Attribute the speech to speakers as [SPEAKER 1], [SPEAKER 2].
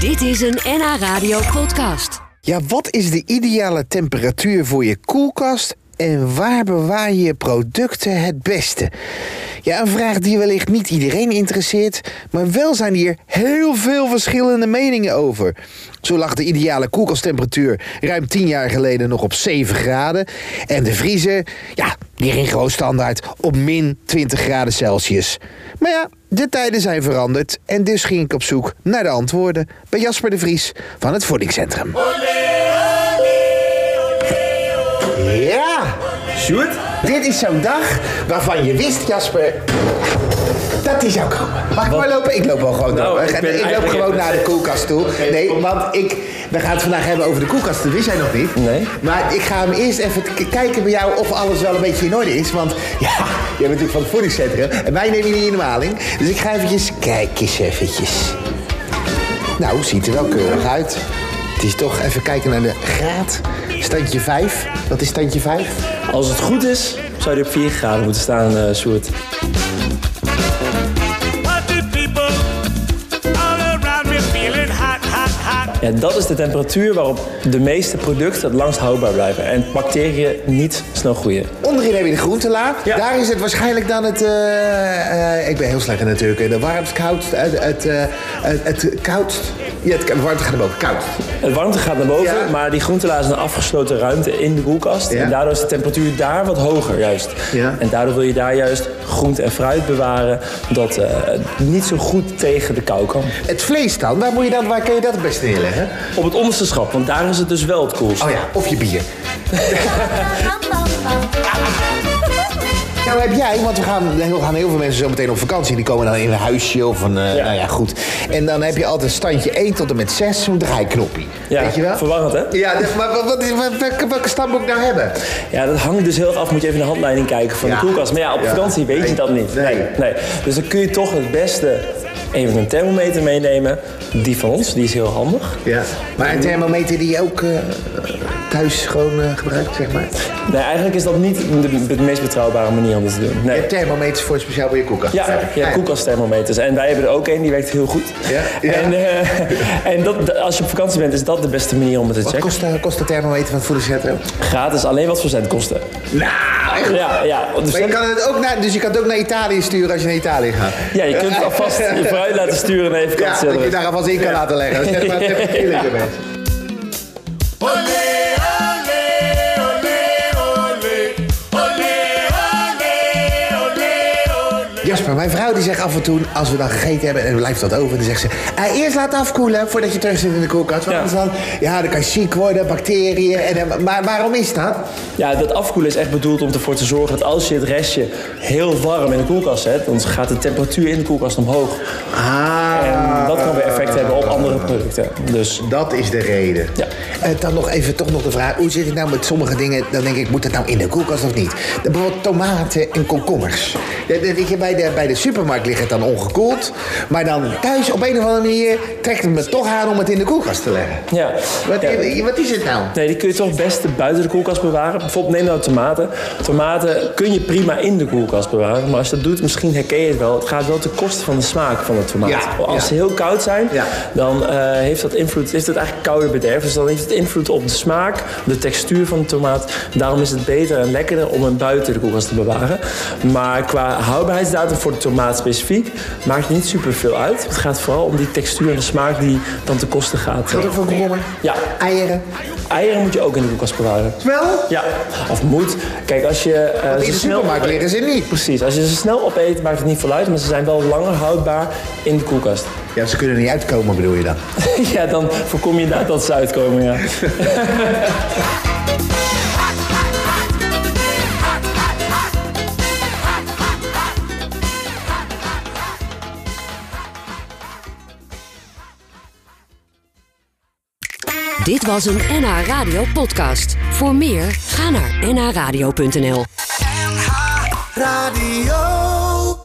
[SPEAKER 1] Dit is een NH Radio podcast.
[SPEAKER 2] Ja, wat is de ideale temperatuur voor je koelkast en waar bewaar je je producten het beste? Ja, een vraag die wellicht niet iedereen interesseert, maar wel zijn hier heel veel verschillende meningen over. Zo lag de ideale koelkasttemperatuur ruim 10 jaar geleden nog op 7 graden en de vriezer, ja, die ging gewoon standaard op min 20 graden Celsius. Maar ja, de tijden zijn veranderd en dus ging ik op zoek naar de antwoorden bij Jasper de Vries van het Voedingscentrum. Ja,
[SPEAKER 3] Sjoerd?
[SPEAKER 2] dit is zo'n dag waarvan je wist, Jasper, dat die zou komen. Mag ik maar lopen? Ik loop wel gewoon
[SPEAKER 3] Nou,
[SPEAKER 2] door.
[SPEAKER 3] ik
[SPEAKER 2] Ik,
[SPEAKER 3] ben
[SPEAKER 2] loop
[SPEAKER 3] eigenlijk
[SPEAKER 2] gewoon
[SPEAKER 3] even-
[SPEAKER 2] naar de koelkast toe. Nee, want ik, we gaan het vandaag hebben over de koelkast. Dat wist jij nog niet.
[SPEAKER 3] Nee.
[SPEAKER 2] Maar ik ga hem eerst even k- kijken bij jou of alles wel een beetje in orde is. Want ja, jij bent natuurlijk van het voedingscentrum. En wij nemen je niet in de maling. Dus ik ga eventjes... Kijk eens eventjes. Nou, ziet er wel keurig uit. Het is toch even kijken naar de graad. Standje 5. Wat is standje 5?
[SPEAKER 3] Als het goed is, zou je op 4 graden moeten staan, eh Sjoerd.
[SPEAKER 4] Party people all around me feeling hot, hot, hot.
[SPEAKER 3] Ja, dat is de temperatuur waarop de meeste producten het langst houdbaar blijven. En bacteriën niet snel groeien.
[SPEAKER 2] Onderin heb je de groentela.
[SPEAKER 3] Ja.
[SPEAKER 2] Daar is het waarschijnlijk dan het... eh, eh, ik ben heel slecht in natuurlijk. eh, De warmst, koudst... eh, het, eh, het, het koudst... Ja, het warmte gaat boven. Koud.
[SPEAKER 3] Het warmte gaat naar boven,
[SPEAKER 2] Ja.
[SPEAKER 3] maar die groentela is een afgesloten ruimte in de koelkast.
[SPEAKER 2] Ja.
[SPEAKER 3] En daardoor is de temperatuur daar wat hoger juist.
[SPEAKER 2] Ja.
[SPEAKER 3] En daardoor wil je daar juist groente en fruit bewaren... dat eh, het niet zo goed tegen de kou kan.
[SPEAKER 2] Het vlees dan, waar, moet je dan, waar kun je dat het beste neerleggen?
[SPEAKER 3] Op het onderste schap, want daar is het dus wel het koelst.
[SPEAKER 2] Oh ja, of je bier. Nou heb jij, want we gaan, heel- gaan heel veel mensen zo meteen op vakantie. Die komen dan in een huisje of een, eh,
[SPEAKER 3] Ja.
[SPEAKER 2] nou ja, goed. En dan heb je altijd standje 1 tot en met 6, zo'n draaiknopje.
[SPEAKER 3] Ja,
[SPEAKER 2] Weet je wel?
[SPEAKER 3] verwarrend, hè?
[SPEAKER 2] Ja, dus- maar wat, wat, is- wat- welke, welke stand moet ik nou hebben?
[SPEAKER 3] Ja, dat hangt dus heel erg af. Moet je even in de handleiding kijken van
[SPEAKER 2] Ja.
[SPEAKER 3] de koelkast. Maar ja, op
[SPEAKER 2] Ja.
[SPEAKER 3] vakantie weet
[SPEAKER 2] Nee.
[SPEAKER 3] je dat niet.
[SPEAKER 2] Nee.
[SPEAKER 3] nee. Dus dan kun je toch het beste even een thermometer meenemen. Die van ons, die is heel handig.
[SPEAKER 2] Ja. Maar een thermometer die je ook eh, thuis gewoon eh, gebruikt, zeg maar.
[SPEAKER 3] Nee, eigenlijk is dat niet de, de meest betrouwbare manier om dit te doen.
[SPEAKER 2] Je
[SPEAKER 3] Nee.
[SPEAKER 2] hebt thermometers voor speciaal voor je koelkast.
[SPEAKER 3] Ja, ja, koelkastthermometers. En wij hebben er ook één, die werkt heel goed.
[SPEAKER 2] Ja, ja.
[SPEAKER 3] En, eh, en dat, dat- als je op vakantie bent, is dat de beste manier om het te
[SPEAKER 2] Wat
[SPEAKER 3] checken.
[SPEAKER 2] kost, de- kost de thermometer van het voedingscentrum?
[SPEAKER 3] Gratis, alleen wat verzendkosten.
[SPEAKER 2] Nou, echt.
[SPEAKER 3] Ja, ja. want de
[SPEAKER 2] Maar je kan het ook naar, dus je kan het ook naar Italië sturen als je naar Italië gaat.
[SPEAKER 3] Ja, je kunt het alvast je vooruit laten sturen naar je
[SPEAKER 2] Ja,
[SPEAKER 3] vakantie.
[SPEAKER 2] dat je het daar alvast in kan laten leggen. Dat is maar een temperatuurlijke mensen.
[SPEAKER 4] Ole, ole, ole, ole. Ole, ole, ole, ole.
[SPEAKER 2] Jasper, mijn vrouw die zegt af en toe, als we dan gegeten hebben en er blijft wat over, dan zegt ze: "Eh, eerst laten afkoelen voordat je terug zit in de koelkast. Want
[SPEAKER 3] Ja.
[SPEAKER 2] anders dan, ja, dan kan je ziek worden, bacteriën. En, dan- maar waarom is dat?
[SPEAKER 3] Ja, dat afkoelen is echt bedoeld om ervoor te zorgen dat als je het restje heel warm in de koelkast zet, dan gaat de temperatuur in de koelkast omhoog.
[SPEAKER 2] Ah.
[SPEAKER 3] En dat kan weer effect hebben op andere producten. Dus
[SPEAKER 2] Dat is de reden.
[SPEAKER 3] Ja.
[SPEAKER 2] En dan nog even toch nog de vraag: hoe zit het nou met sommige dingen? Dan denk ik, moet het nou in de koelkast of niet? Bijvoorbeeld tomaten en komkommers. Dat- dat weet je, Bij de, bij de supermarkt ligt het dan ongekoeld. Maar dan thuis op een of andere manier trekt het me toch aan om het in de koelkast te leggen.
[SPEAKER 3] ja.
[SPEAKER 2] Wat,
[SPEAKER 3] Ja.
[SPEAKER 2] wat is het nou?
[SPEAKER 3] Nee, die kun je toch best buiten de koelkast bewaren. Bijvoorbeeld neem nou tomaten. Tomaten kun je prima in de koelkast bewaren. Maar als je dat doet, misschien herken je het wel. Het gaat wel ten koste van de smaak van de tomaat.
[SPEAKER 2] Ja,
[SPEAKER 3] als
[SPEAKER 2] ja.
[SPEAKER 3] ze heel koud zijn,
[SPEAKER 2] Ja.
[SPEAKER 3] dan eh, heeft dat invloed. Heeft het eigenlijk koude bederf. Dus dan heeft het invloed op de smaak, de textuur van de tomaat. Daarom is het beter en lekkerder om hem buiten de koelkast te bewaren. Maar qua houdbaarheidsdatum voor de tomaat specifiek maakt niet superveel uit. Het gaat vooral om die textuur en de smaak die dan ten koste gaat.
[SPEAKER 2] Wat ook voor komkommer?
[SPEAKER 3] Ja,
[SPEAKER 2] Eieren.
[SPEAKER 3] eieren moet je ook in de koelkast bewaren.
[SPEAKER 2] Wel?
[SPEAKER 3] Ja, of moet. Kijk, als je eh,
[SPEAKER 2] In
[SPEAKER 3] ze
[SPEAKER 2] de
[SPEAKER 3] snel
[SPEAKER 2] supermarkt liggen ze niet.
[SPEAKER 3] Precies, als je ze snel opeet, maakt het niet veel uit, maar ze zijn wel langer houdbaar in de koelkast.
[SPEAKER 2] Ja, ze kunnen niet uitkomen, bedoel je dan?
[SPEAKER 3] ja, dan voorkom je inderdaad dat ze uitkomen, ja.
[SPEAKER 1] Dit was een NH Radio podcast. Voor meer, ga naar nhradio.nl.
[SPEAKER 5] Radio.